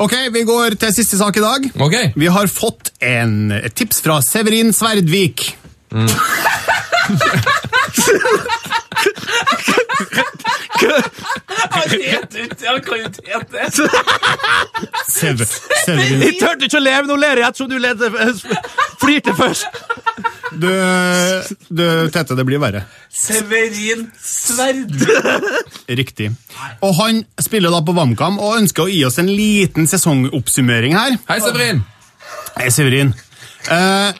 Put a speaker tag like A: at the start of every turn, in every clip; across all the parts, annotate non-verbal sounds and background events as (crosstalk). A: Ok, Vi går til siste sak i dag.
B: Ok.
A: Vi har fått en, et tips fra Severin Sverdvik. Sever, Severin.
C: Jeg turte ikke å leve, nå ler jeg ettersom du leder, flirte først.
A: Du, du, Tete, det blir verre.
D: Severin Sverd.
A: Riktig. Og han spiller da på VamKam og ønsker å gi oss en liten sesongoppsummering her.
B: Hei, Severin.
A: Hei, Severin. Eh,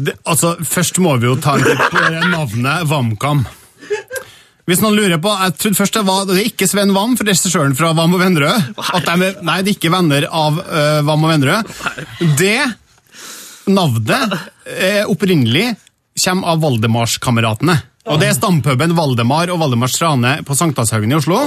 A: det, altså, først må vi jo ta en titt på det navnet VamKam. Hvis noen lurer på, Jeg trodde først det var det er ikke Sven Vam, for regissøren fra Vam og Vennerød. At de, er- nei, det er ikke venner av eh, Vam og Vennerød. Det navnet eh, opprinnelig kommer av Valdemarskameratene. Og det er stampuben Valdemar og Valdemar Strane på Sankthanshaugen i Oslo.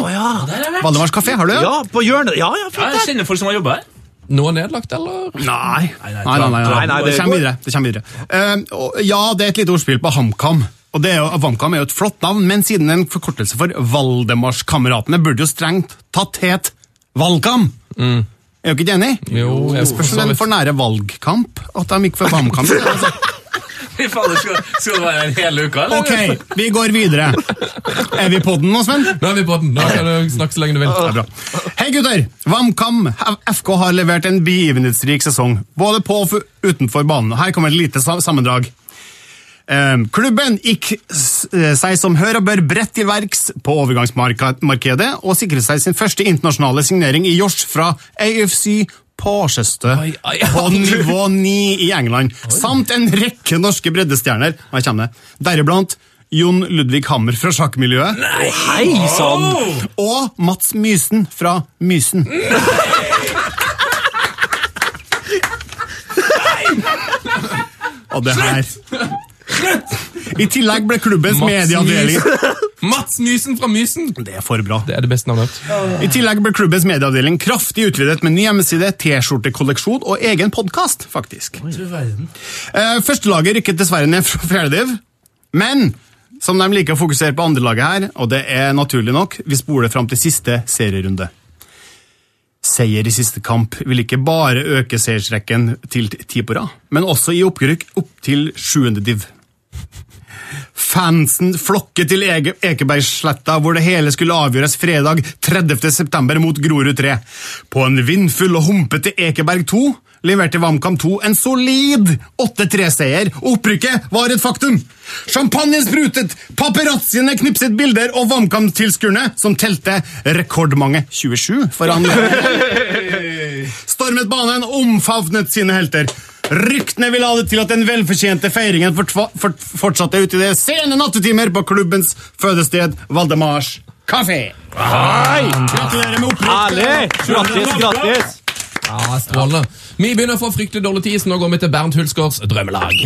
A: Valdemars kafé, har du?
C: Ja, på hjørnet. Ja, ja, fint.
D: Jeg kjenner folk som har jobba her.
B: Noe nedlagt, eller?
A: Nei. Nei, nei, nei,
C: nei, nei,
A: det
C: det
A: kommer
C: går.
A: videre. Det kommer videre. Eh, og, ja, det er et lite ordspill på HamKam. Og det er jo, HamKam er jo et flott navn, men siden det er en forkortelse for Valdemarskameratene, burde jo strengt tatt het ValKam. Er du ikke enig?
B: Mm. Jo,
A: Det
B: jo,
A: spørs om
B: for så
A: det
B: vidt.
A: er for nære valgkamp at de gikk for VamKam. Altså.
B: (laughs)
D: Fy fader, skal, skal det være en hel uke, eller?
A: Ok, vi går videre. Er vi på den nå, Sven?
B: Nå er vi på den. Nå kan du snakke så lenge du vil.
A: Det er bra. Hei gutter! VamKam FK har levert en begivenhetsrik sesong, både på og fu- utenfor banen. Her kommer et lite sa- sammendrag. Ehm, Klubben gikk s- eh, seg som hør og bør bredt til verks på overgangsmarkedet, og sikret seg sin første internasjonale signering i Jors fra AFC Porchester
B: Oi, oi,
A: på
B: oi.
A: nivå 9 i England, samt en rekke norske breddestjerner, Her kommer det, deriblant Jon Ludvig Hammer fra sjakkmiljøet
C: Hei sånn. sann.
A: og Mats Mysen fra Mysen. Og det her I tillegg ble klubbens
B: Mats
A: medieavdeling
B: Mats Mysen fra Mysen.
A: Det er for bra.
B: Det er det beste navnet.
A: I tillegg ble klubbens medieavdeling kraftig utvidet med ny hjemmeside, T-skjortekolleksjon og egen podkast, faktisk. Eh, Førstelaget rykket dessverre ned fra fjerdediv, men som de liker å fokusere på andrelaget her, og det er naturlig nok, vi spoler fram til siste serierunde. Seier i siste kamp vil ikke bare øke seiersrekken til ti på rad, men også gi opprykk opp til sjuende div. Fansen flokker til Ege Ekebergsletta, hvor det hele skulle avgjøres fredag 30. september mot Grorud 3. På en vindfull og humpete Ekeberg 2 leverte VamKam 2 en solid 8-3-seier. Opprykket var et faktum! Champagnen sprutet, paparazziene knipset bilder, og VamKam-tilskuerne, som telte rekordmange 27 for anledningen, stormet banen og omfavnet sine helter. Ryktene vil ha det til at den velfortjente feiringen fortva- fort- fortsatte ut i det sene nattetimer på klubbens fødested Valdemars kafé. Gratulerer med
C: Herlig!
A: opprykket.
C: Grattis, grattis.
B: Ja, strålende. Vi begynner å få fryktelig dårlig tid, så nå går vi til Bernt Hulsgaards drømmelag.